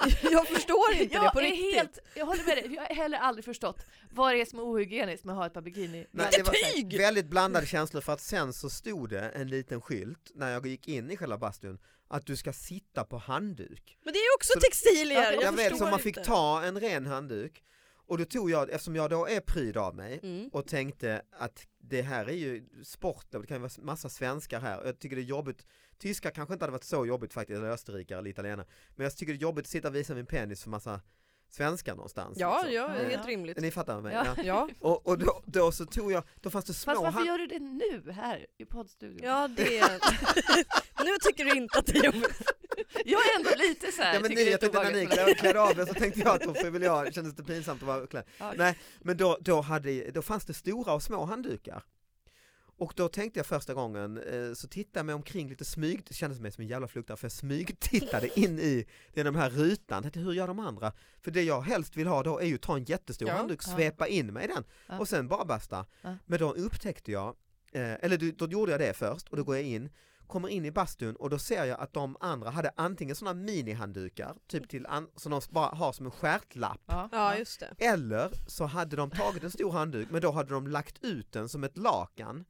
[SPEAKER 2] Jag förstår inte det på
[SPEAKER 4] är
[SPEAKER 2] riktigt.
[SPEAKER 4] Helt, jag håller med dig. Jag har heller aldrig förstått vad det är som är ohygieniskt med att ha ett par bikini.
[SPEAKER 3] Nej,
[SPEAKER 2] Det är
[SPEAKER 3] det var så här
[SPEAKER 2] tyg!
[SPEAKER 3] väldigt blandade känslor för att sen så stod det en liten skylt när jag gick in i själva bastun att du ska sitta på handduk.
[SPEAKER 2] Men det är ju också
[SPEAKER 3] Så-
[SPEAKER 2] textilier!
[SPEAKER 4] Ja, det-
[SPEAKER 2] jag
[SPEAKER 3] Jag vet, så
[SPEAKER 2] förstår
[SPEAKER 3] man fick
[SPEAKER 2] inte.
[SPEAKER 3] ta en ren handduk och då tog jag, eftersom jag då är pryd av mig
[SPEAKER 2] Mm.
[SPEAKER 3] och tänkte att det här är ju sport, och det kan ju vara massa svenskar här och jag tycker det är jobbigt, tyskar kanske inte hade varit så jobbigt faktiskt, eller österrikare eller italienare, men jag tycker det är jobbigt att sitta och visa min penis för massa svenskar någonstans.
[SPEAKER 2] Ja,
[SPEAKER 3] liksom.
[SPEAKER 2] ja,
[SPEAKER 4] Ja.
[SPEAKER 2] helt rimligt.
[SPEAKER 3] Ni fattar mig?
[SPEAKER 4] Ja.
[SPEAKER 3] Ja.
[SPEAKER 2] Ja,
[SPEAKER 3] Och, och då, då så tog jag, då fanns det små
[SPEAKER 4] Fast varför
[SPEAKER 3] hand-
[SPEAKER 4] gör du det nu här i poddstudion?
[SPEAKER 2] ja det... nu tycker du inte att det är jobbigt.
[SPEAKER 4] Jag är ändå lite så här.
[SPEAKER 3] Ja men
[SPEAKER 4] tycker
[SPEAKER 3] ni,
[SPEAKER 4] det är
[SPEAKER 3] jag tänkte när ni
[SPEAKER 4] obehagligt.
[SPEAKER 3] klär, klär av er så tänkte jag att då får väl jag, kändes det pinsamt att vara klädd.
[SPEAKER 4] Ja.
[SPEAKER 3] Nej men då, då, hade, då fanns det stora och små handdukar. Och då tänkte jag första gången, eh, så tittade jag mig omkring lite smyg, det kändes mig som en jävla flugtare för jag smygtittade in i den här rutan, tänkte, hur gör de andra? För det jag helst vill ha då är ju ta en jättestor
[SPEAKER 2] Ja.
[SPEAKER 3] handduk,
[SPEAKER 4] Ja.
[SPEAKER 3] svepa in mig i den
[SPEAKER 4] Ja.
[SPEAKER 3] och sen bara basta.
[SPEAKER 4] Ja.
[SPEAKER 3] Men då upptäckte jag, eh, eller då, då gjorde jag det först och då går jag in kommer in i bastun och då ser jag att de andra hade antingen sådana minihanddukar, typ till an- som de bara har som en stjärtlapp,
[SPEAKER 4] Ja,
[SPEAKER 2] Ja, just det.
[SPEAKER 3] eller så hade de tagit en stor handduk men då hade de lagt ut den som ett lakan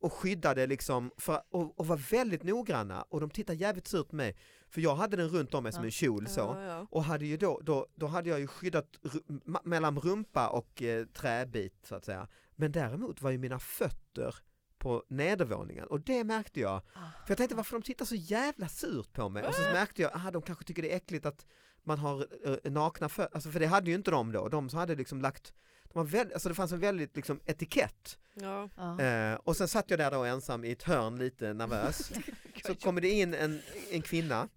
[SPEAKER 3] och skyddade liksom, för, och, och var väldigt noggranna och de tittade jävligt surt på mig för jag hade den runt om mig som en kjol så
[SPEAKER 2] Ja, ja.
[SPEAKER 3] och hade ju då, då, då hade jag ju skyddat ru- ma- mellan rumpa och eh, träbit så att säga. Men däremot var ju mina fötter på nedervåningen och det märkte jag.
[SPEAKER 4] Ah,
[SPEAKER 3] För jag tänkte varför de tittar så jävla surt på mig och så märkte jag att de kanske tycker det är äckligt att man har eh, nakna fötter, alltså, för det hade ju inte de då, de som hade liksom lagt de var väl, alltså det fanns en väldigt liksom, etikett.
[SPEAKER 2] Ja.
[SPEAKER 4] Ja.
[SPEAKER 3] Eh, och sen satt jag där då ensam i ett hörn lite nervös. Så kommer det in en, en kvinna,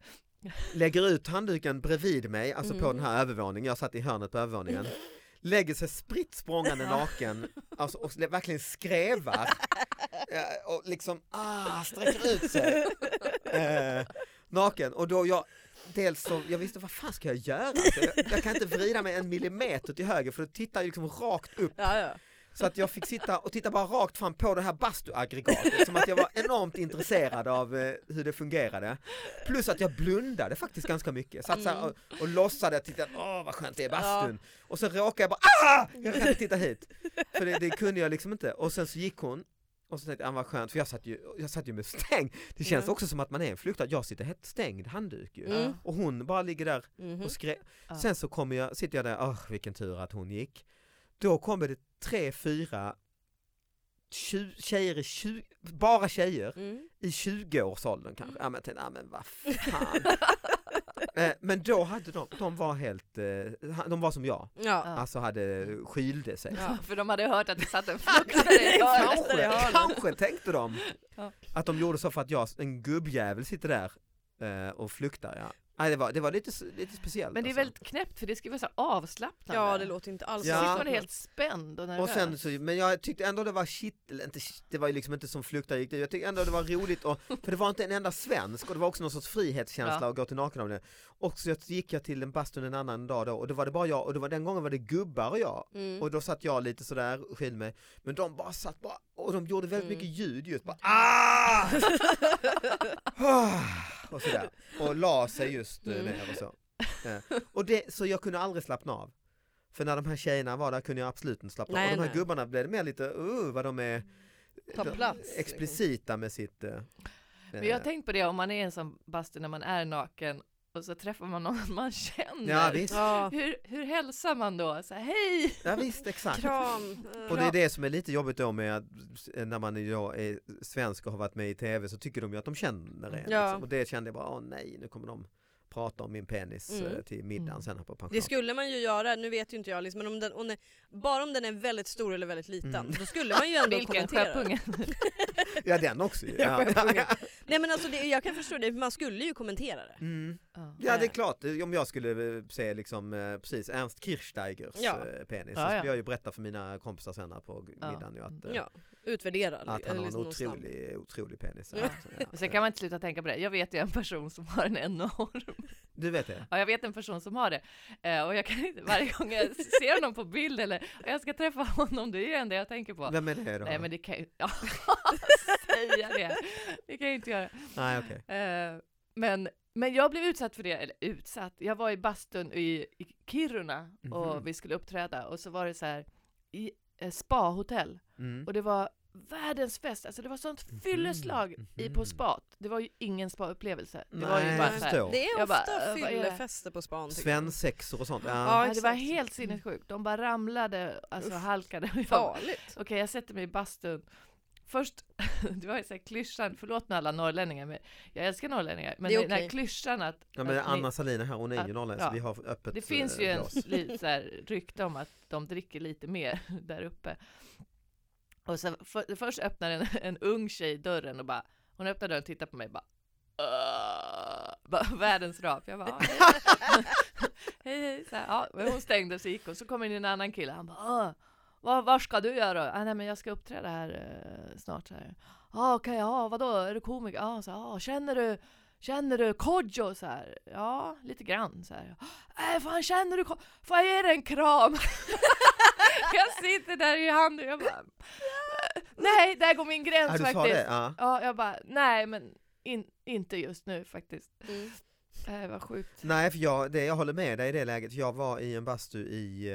[SPEAKER 3] lägger ut handduken bredvid mig, alltså på
[SPEAKER 2] Mm.
[SPEAKER 3] den här övervåningen, jag satt i hörnet på övervåningen, lägger sig spritt språngande naken alltså, och verkligen skrävar eh, och liksom ah, sträcker ut sig eh, naken och då jag dels så, jag visste vad fan ska jag göra? Så Jag, jag kan inte vrida mig en millimeter till höger för då tittar jag liksom rakt upp
[SPEAKER 2] Ja, ja.
[SPEAKER 3] så att jag fick sitta och titta bara rakt fram på det här bastuaggregatet som att jag var enormt intresserad av eh, hur det fungerade. Plus att jag blundade faktiskt ganska mycket. Satt så här
[SPEAKER 2] Mm.
[SPEAKER 3] och, och låtsade att titta, åh vad skönt det är bastun. Och så råkade jag bara, ah! Jag kan inte titta hit. För det, det kunde jag liksom inte. Och sen så gick hon och så tänkte jag, ah, vad skönt, för jag satt ju, jag satt ju med stäng. Det känns
[SPEAKER 2] Ja.
[SPEAKER 3] också som att man är en flyktad, jag sitter helt stängd handduk ju.
[SPEAKER 2] Mm.
[SPEAKER 3] Och hon bara ligger där
[SPEAKER 2] Mhm.
[SPEAKER 3] och skrek.
[SPEAKER 4] Ja.
[SPEAKER 3] Sen så kommer jag, sitter jag där, åh vilken tur att hon gick. Då kommer det tre, fyra tju, tjejer i tju, bara tjejer
[SPEAKER 2] Mm.
[SPEAKER 3] i 20-årsåldern
[SPEAKER 4] Mm.
[SPEAKER 3] kanske. Ja men jag tänkte, ja men vad fan. Eh, men då hade de, de var helt, eh, ha- de var som jag,
[SPEAKER 2] Ja.
[SPEAKER 4] Ja.
[SPEAKER 3] alltså hade skylde sig.
[SPEAKER 4] Ja, för de hade hört att det satt en fruktare i
[SPEAKER 3] Kanske,
[SPEAKER 4] hörnet.
[SPEAKER 3] kanske tänkte de
[SPEAKER 4] Ja.
[SPEAKER 3] att de gjorde så för att jag, en gubbjävel sitter där eh, och flyktar. Ja. Nej, det, var, det var lite, s- lite speciellt.
[SPEAKER 4] Men det är
[SPEAKER 3] alltså.
[SPEAKER 4] väldigt knäppt för det ska vara så avslappnande.
[SPEAKER 2] ja, det låter inte alls
[SPEAKER 4] Så
[SPEAKER 3] Ja.
[SPEAKER 4] sitter
[SPEAKER 2] ja.
[SPEAKER 4] man helt spänd och
[SPEAKER 3] Och
[SPEAKER 4] nervös.
[SPEAKER 3] sen så, men jag tyckte ändå det var shit, eller inte, shit, det var ju liksom inte som flyktar gick det. jag tyckte ändå det var roligt och, för det var inte en enda svensk och det var också någon sorts frihetskänsla
[SPEAKER 4] Ja.
[SPEAKER 3] att gå till nakenavdelningen. Och så gick jag till en bastun en annan dag då och då var det bara jag och det var, den gången var det gubbar och jag.
[SPEAKER 2] Mm.
[SPEAKER 3] Och då satt jag lite sådär och skilde mig, men de bara satt bara, och de gjorde väldigt
[SPEAKER 2] Mm.
[SPEAKER 3] mycket ljud just bara ah! Ah! och sådär, och la sig just eh,
[SPEAKER 2] Mm.
[SPEAKER 3] ner och så. Eh, Och det, så jag kunde aldrig slappna av. För när de här tjejerna var där kunde jag absolut inte slappna av.
[SPEAKER 2] Nej,
[SPEAKER 3] Och de här
[SPEAKER 2] nej.
[SPEAKER 3] gubbarna blev det mer lite, uh, vad de är
[SPEAKER 2] Ta
[SPEAKER 3] de-
[SPEAKER 2] plats, liksom.
[SPEAKER 3] explicita med sitt... eh,
[SPEAKER 4] Men jag har
[SPEAKER 3] eh,
[SPEAKER 4] tänkt på det om man är en sån bastu när man är naken och så träffar man någon man känner.
[SPEAKER 3] ja, visst,
[SPEAKER 2] Ja.
[SPEAKER 4] hur, hur hälsar man då? Så här, hej!
[SPEAKER 3] ja visst, exakt.
[SPEAKER 2] Kram.
[SPEAKER 3] Och det är det som är lite jobbigt då med att eh, när man idag är svensk och har varit med i tv så tycker de ju att de känner en.
[SPEAKER 2] Ja.
[SPEAKER 3] Liksom. Och det kände jag bara, åh nej, nu kommer de prata om min penis
[SPEAKER 2] Mm.
[SPEAKER 3] eh, till middagen
[SPEAKER 4] Mm.
[SPEAKER 3] sen här på pension.
[SPEAKER 2] Det skulle man ju göra, nu vet ju inte jag, liksom, men om den, om den, bara om den är väldigt stor eller väldigt liten,
[SPEAKER 3] Mm.
[SPEAKER 2] då skulle man ju ändå
[SPEAKER 4] Vilken
[SPEAKER 2] kommentera.
[SPEAKER 4] sjöpungen?
[SPEAKER 3] Ja den också ju.
[SPEAKER 2] Ja,
[SPEAKER 3] Ja.
[SPEAKER 2] sjöpungen. Nej men alltså det, jag kan förstå det, för man skulle ju kommentera det.
[SPEAKER 3] Mm.
[SPEAKER 4] Ja.
[SPEAKER 3] ja det är klart, om jag skulle eh, se liksom, eh, precis Ernst Kirchsteigers
[SPEAKER 2] Ja.
[SPEAKER 3] eh, penis
[SPEAKER 4] Ja,
[SPEAKER 3] så
[SPEAKER 4] ja.
[SPEAKER 3] skulle jag ju berätta för mina kompisar sen här på
[SPEAKER 4] Ja.
[SPEAKER 3] middagen ju att, eh,
[SPEAKER 2] Ja, utvärdera.
[SPEAKER 3] att han
[SPEAKER 2] eller
[SPEAKER 3] har en
[SPEAKER 2] liksom någon snabb-
[SPEAKER 3] otrolig, eh, otrolig penis.
[SPEAKER 2] Ja.
[SPEAKER 3] Ja.
[SPEAKER 4] Och Sen kan man inte sluta tänka på det. Jag vet ju en person som har en enorm.
[SPEAKER 3] Du vet det?
[SPEAKER 4] Ja, jag vet en person som har det. Eh, och jag kan inte, varje gång jag ser honom på bild eller och jag ska träffa honom, det är ju det enda jag tänker på.
[SPEAKER 3] Vem är det då?
[SPEAKER 4] Nej, men det kan ju... Ja, säga det. Det kan jag inte göra.
[SPEAKER 3] Nej okej.
[SPEAKER 4] Eh, men, men jag blev utsatt för det, eller utsatt, jag var i bastun i, i Kiruna
[SPEAKER 3] Mhm.
[SPEAKER 4] och vi skulle uppträda och så var det så här i eh, spahotell
[SPEAKER 3] Mm.
[SPEAKER 4] och det var världens fest, alltså det var sånt fylleslag i, på
[SPEAKER 3] mhm.
[SPEAKER 4] spat. Det var ju ingen spaupplevelse. Det var
[SPEAKER 3] Nej,
[SPEAKER 4] ju
[SPEAKER 3] jag
[SPEAKER 4] bara så här,
[SPEAKER 3] förstår.
[SPEAKER 2] Det är
[SPEAKER 4] Jag bara,
[SPEAKER 2] ofta
[SPEAKER 4] eh, vad är det?
[SPEAKER 2] fyllefester på span. tycker jag.
[SPEAKER 3] Svensexor och sånt.
[SPEAKER 2] Ja,
[SPEAKER 3] Ja.
[SPEAKER 4] ja, det var
[SPEAKER 2] exakt.
[SPEAKER 4] helt sinnessjukt. De bara ramlade, alltså
[SPEAKER 2] Uff.
[SPEAKER 4] halkade. Och jag bara,
[SPEAKER 2] Farligt.
[SPEAKER 4] Okej, jag sätter mig i bastun. Först, det var ju så här klyschan, förlåt nu alla norrlänningar, men jag älskar norrlänningar, men
[SPEAKER 2] Det är
[SPEAKER 4] den här
[SPEAKER 2] okej.
[SPEAKER 4] klyschan att,
[SPEAKER 3] Ja, men
[SPEAKER 4] att ni-
[SPEAKER 3] Anna Salina här, hon är ju norrländsk,
[SPEAKER 4] ja.
[SPEAKER 3] vi har öppet
[SPEAKER 4] Det finns
[SPEAKER 3] eh,
[SPEAKER 4] ju en
[SPEAKER 3] glas.
[SPEAKER 4] lite så här rykte om att de dricker lite mer där uppe. Och sen för, först öppnar en, en ung tjej dörren och bara, hon öppnar dörren och tittar på mig och bara, "Åh!" bara världens rap. Jag bara, "Ja, hej, hej, hej. Så här, ja, men hon stängde och så gick hon. Så kom in en annan kille, han bara, "Åh, vad, vad ska du göra? Ah, nej men jag ska uppträda här eh, snart. Så här. Ja, okej, ja, vadå, är du komiker? Ja, så här, ja, känner du, känner du Kodjo? Så här, ja, lite grann så här. Nej, fan känner du Kodjo? Får jag ge dig en kram? jag sitter där i handen och jag bara, "Äh, nej, där går min
[SPEAKER 3] Ja,
[SPEAKER 4] gräns
[SPEAKER 3] du sa
[SPEAKER 4] faktiskt.
[SPEAKER 3] det? Ja.
[SPEAKER 4] Ja, jag bara, nej men in, inte just nu faktiskt.
[SPEAKER 2] Mm.
[SPEAKER 4] Det var sjukt.
[SPEAKER 3] Nej, för jag, det, jag håller med dig i det läget. Jag var i en bastu i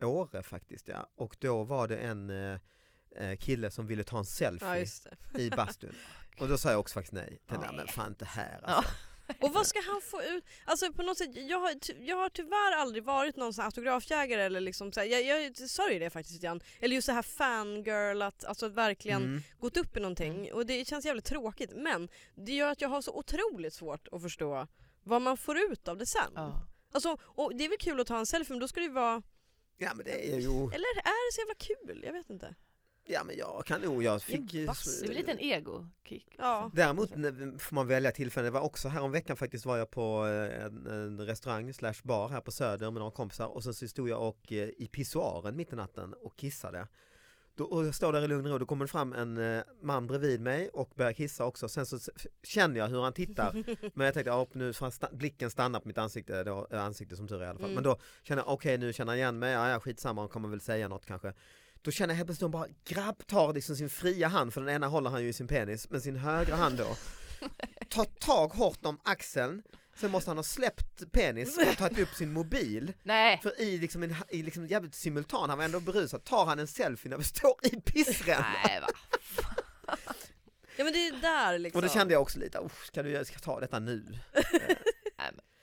[SPEAKER 3] eh, Åre faktiskt, ja. och då var det en eh, eh, kille som ville ta
[SPEAKER 2] Ja,
[SPEAKER 3] en selfie
[SPEAKER 2] just det.
[SPEAKER 3] i bastun. Och då sa jag också faktiskt nej. Tänkte,
[SPEAKER 4] Ja.
[SPEAKER 3] nej men fan inte här
[SPEAKER 4] Ja.
[SPEAKER 3] alltså.
[SPEAKER 2] Och vad ska han få ut? Alltså på något sätt, jag har, ty- jag har tyvärr aldrig varit någon sån här autografjägare eller liksom så här, jag, jag sörjer det faktiskt lite grann. Eller just det här fangirl, att, alltså att verkligen
[SPEAKER 3] Mm.
[SPEAKER 2] gått upp i någonting och det känns jävligt tråkigt men det gör att jag har så otroligt svårt att förstå vad man får ut av det sen.
[SPEAKER 4] Ja.
[SPEAKER 2] Alltså, och det är väl kul att ta en selfie men då ska det ju vara,
[SPEAKER 3] Ja men det är ju,
[SPEAKER 2] eller är det så jävla kul? Jag vet inte.
[SPEAKER 3] ja men jag kan nog, jag fick ju-
[SPEAKER 2] bastu.
[SPEAKER 4] Det är väl lite en ego-kick. liksom.
[SPEAKER 2] Ja.
[SPEAKER 3] Däremot när- får man välja tillfälle, det var också häromveckan faktiskt var jag på eh, en, en restaurang slash bar här på Söder med några kompisar och sen så stod jag och eh, i pissoaren mitt i natten och kissade. Då, och jag står där i lugn och ro, då kommer det fram en eh, man bredvid mig och börjar kissa också. Sen så s- f- känner jag hur han tittar. Men jag tänkte, ja, nu får han sta- blicken stannar på mitt ansikte, det var eh, ansikte som tur är i alla fall.
[SPEAKER 2] Mm.
[SPEAKER 3] Men då känner jag, okej nu känner han igen mig, ja, ja skitsamma, han kommer väl säga något kanske. Då känner jag helt plötsligt bara, grabb tar liksom sin fria hand, för den ena håller han ju i sin penis, men sin högra hand då, tar tag hårt om axeln, sen måste han ha släppt penis och tagit upp sin mobil.
[SPEAKER 4] Nej!
[SPEAKER 3] För i liksom, en, i liksom jävligt simultan, han var ändå berusad, tar han en selfie när vi står i pissrännan?
[SPEAKER 4] Nej va?
[SPEAKER 2] Ja men det är där liksom.
[SPEAKER 3] Och då kände jag också lite, "Oh, ska du ska jag ta detta nu?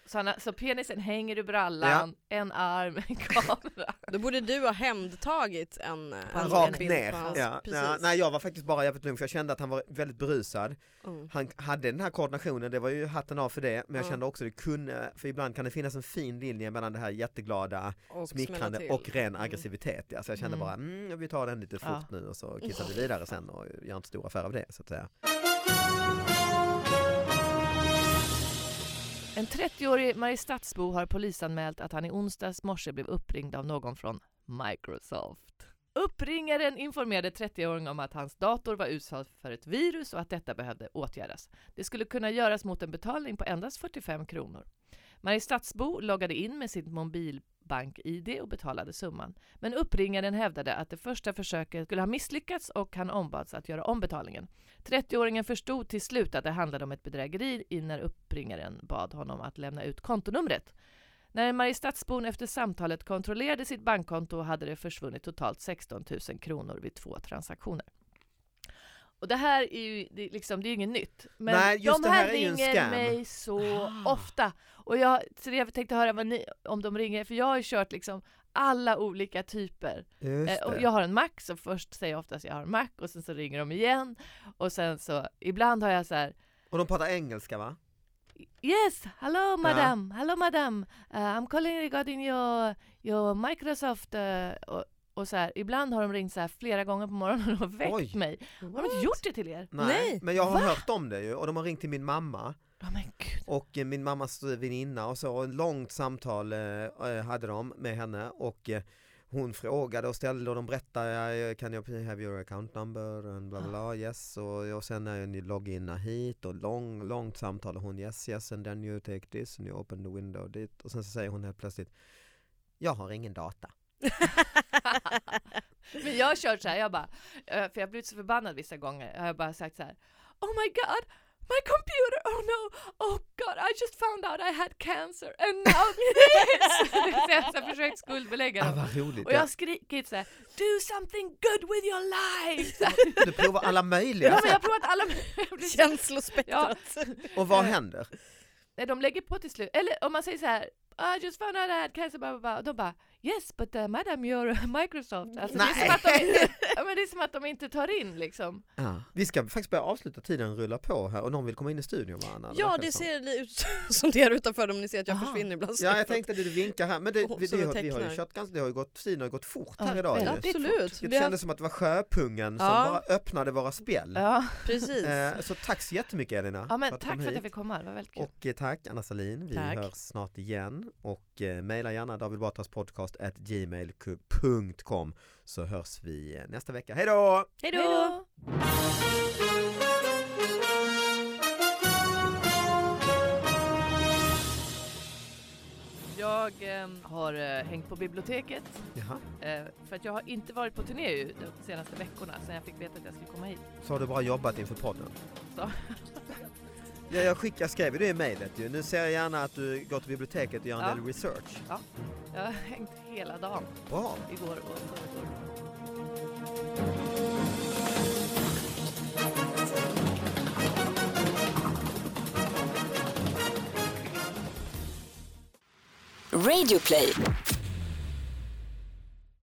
[SPEAKER 4] Så, han, har- så penisen hänger i brallan, en arm, en kamera.
[SPEAKER 2] Då borde du ha hämndtagit en, eh,
[SPEAKER 4] Alltså,
[SPEAKER 3] Rakt
[SPEAKER 2] bild
[SPEAKER 3] ner.
[SPEAKER 2] på hans-
[SPEAKER 3] Ja,
[SPEAKER 2] precis.
[SPEAKER 3] nej, nej, jag var faktiskt bara jävligt lugn för jag kände att han var väldigt berusad.
[SPEAKER 2] Mm.
[SPEAKER 3] Han hade den här koordinationen, det var ju hatten av för det, men jag
[SPEAKER 2] Ja.
[SPEAKER 3] kände också det kunde, för ibland kan det finnas en fin linje mellan det här jätteglada,
[SPEAKER 2] Och smälla
[SPEAKER 3] smickrande
[SPEAKER 2] till.
[SPEAKER 3] och ren
[SPEAKER 2] Mm.
[SPEAKER 3] aggressivitet. Ja. Så jag kände
[SPEAKER 4] Mm.
[SPEAKER 3] bara, mm, vi tar den lite fort
[SPEAKER 4] Ja.
[SPEAKER 3] nu och så kissar vi vidare sen och gör inte stor affär av det så att säga.
[SPEAKER 4] En 30-årig Mariestadsbo har polisanmält att han i onsdags morse blev uppringd av någon från Microsoft. Uppringaren informerade 30-åringen om att hans dator var utsatt för ett virus och att detta behövde åtgärdas. Det skulle kunna göras mot en betalning på endast 45 kronor. Mariestadsbo loggade in med sitt mobilbank-id och betalade summan. Men uppringaren hävdade att det första försöket skulle ha misslyckats och han ombads att göra om betalningen. 30-åringen förstod till slut att det handlade om ett bedrägeri i när uppringaren bad honom att lämna ut kontonumret. När Mariestadsbon efter samtalet kontrollerade sitt bankkonto hade det försvunnit totalt 16 000 kronor vid två transaktioner. Och det här är ju det är liksom, det är ju inget nytt. Men
[SPEAKER 3] Nej, just
[SPEAKER 4] de
[SPEAKER 3] det här
[SPEAKER 4] här,
[SPEAKER 3] är ju en
[SPEAKER 4] ringer
[SPEAKER 3] scam.
[SPEAKER 4] mig så
[SPEAKER 3] Ah.
[SPEAKER 4] ofta. Och jag, så jag tänkte höra vad ni, om de ringer, för jag har ju kört liksom alla olika typer.
[SPEAKER 3] Just
[SPEAKER 4] Eh, och
[SPEAKER 3] det.
[SPEAKER 4] jag har en Mac, så först säger jag oftast jag har en Mac och sen så ringer de igen. Och sen så, ibland har jag så här
[SPEAKER 3] Och de pratar engelska va?
[SPEAKER 4] Yes, hello madam, hello madam. Uh, I'm calling regarding your, your Microsoft. eh," och, och så här, ibland har de ringt så här flera gånger på morgonen och väckt
[SPEAKER 3] Oj.
[SPEAKER 4] mig.
[SPEAKER 2] Mm.
[SPEAKER 4] Har de inte gjort det till er?
[SPEAKER 3] Nej,
[SPEAKER 2] Nej.
[SPEAKER 3] men jag har hört om det ju och de har ringt till min mamma
[SPEAKER 4] Ja men gud.
[SPEAKER 3] och eh, min mammas väninna och så och ett långt samtal eh, eh, hade de med henne och eh, hon frågade och ställde och de berättade eh, kan jag have your account number and bla bla
[SPEAKER 4] Ah.
[SPEAKER 3] bla yes och, och sen när ni logginna hit och lång, långt samtal och hon yes yes and then you take this and you open the window dit och sen så säger hon helt plötsligt jag har ingen data.
[SPEAKER 4] Men jag har kört så här, jag bara, eh, för jag har blivit så förbannad vissa gånger, jag har bara sagt så här, Oh my god, my computer, oh no, oh god, I just found out I had cancer and now this! så jag har så här försökt skuldbelägga
[SPEAKER 3] Ah,
[SPEAKER 4] dem.
[SPEAKER 3] vad roligt!
[SPEAKER 4] Och jag har skrikit så här, do something good with your life! Så här.
[SPEAKER 3] Ja, Du provar alla möjliga
[SPEAKER 4] Ja, men jag har
[SPEAKER 3] sätt.
[SPEAKER 4] provat alla jag blir så-
[SPEAKER 2] Känslospektrat.
[SPEAKER 3] och vad
[SPEAKER 4] Eh.
[SPEAKER 3] händer?
[SPEAKER 4] Nej, de lägger på till slut. Eller om man säger så här, I just found out I had cancer, blah, blah, blah. Och de bara, yes but uh, madam you're Microsoft. Alltså, det, är
[SPEAKER 3] Nej.
[SPEAKER 4] som att de inte, ja, men det är som att de inte tar in liksom.
[SPEAKER 3] Vi ska faktiskt börja avsluta tiden rulla på här och någon vill komma in i studion va Anna?
[SPEAKER 2] Ja
[SPEAKER 3] verkar
[SPEAKER 2] det
[SPEAKER 3] som.
[SPEAKER 2] ser li- ut som det är utanför dem, ni ser att jag
[SPEAKER 3] Aha.
[SPEAKER 2] försvinner ibland.
[SPEAKER 3] Ja jag tänkte att du vinkar här men det,
[SPEAKER 2] Och
[SPEAKER 3] vi,
[SPEAKER 2] som
[SPEAKER 3] det,
[SPEAKER 2] en
[SPEAKER 3] har- vi har ju
[SPEAKER 2] tecknare.
[SPEAKER 3] kört ganska, det har ju gått, tiden har ju gått fort
[SPEAKER 4] Ja,
[SPEAKER 3] här idag
[SPEAKER 4] väldigt.
[SPEAKER 3] ju.
[SPEAKER 2] Absolut.
[SPEAKER 4] fort.
[SPEAKER 3] Det
[SPEAKER 2] Vi har-
[SPEAKER 3] kändes som att det var sjöpungen som
[SPEAKER 2] Ja.
[SPEAKER 3] bara öppnade våra spjäll.
[SPEAKER 4] Ja,
[SPEAKER 2] Precis.
[SPEAKER 3] Eh, så tack så jättemycket Elina.
[SPEAKER 4] ja men
[SPEAKER 3] för att du
[SPEAKER 4] tack
[SPEAKER 3] kom
[SPEAKER 4] för att jag
[SPEAKER 3] hit.
[SPEAKER 4] fick komma, det var väldigt kul.
[SPEAKER 3] Och eh, tack Anna Salin. vi
[SPEAKER 2] Tack.
[SPEAKER 3] hörs snart igen och eh, mejla gärna davidbatraspodcast.gmail.com så hörs vi eh, nästa vecka. Hej då!
[SPEAKER 2] Hej
[SPEAKER 4] Hej
[SPEAKER 2] då!
[SPEAKER 4] då! Jag ehm, har eh, hängt på biblioteket
[SPEAKER 3] Jaha,
[SPEAKER 4] eh, för att jag har inte varit på turné ju de senaste veckorna sen jag fick veta att jag skulle komma hit.
[SPEAKER 3] så har du bra jobbat inför podden.
[SPEAKER 4] Så.
[SPEAKER 3] Ja, jag, skick, jag skrev ju det i mejlet ju. Nu ser jag gärna att du går till biblioteket och gör en
[SPEAKER 4] Ja.
[SPEAKER 3] del research.
[SPEAKER 4] Jag har hängt hela dagen
[SPEAKER 3] Bra!
[SPEAKER 4] igår och förrgår.
[SPEAKER 1] Radio play.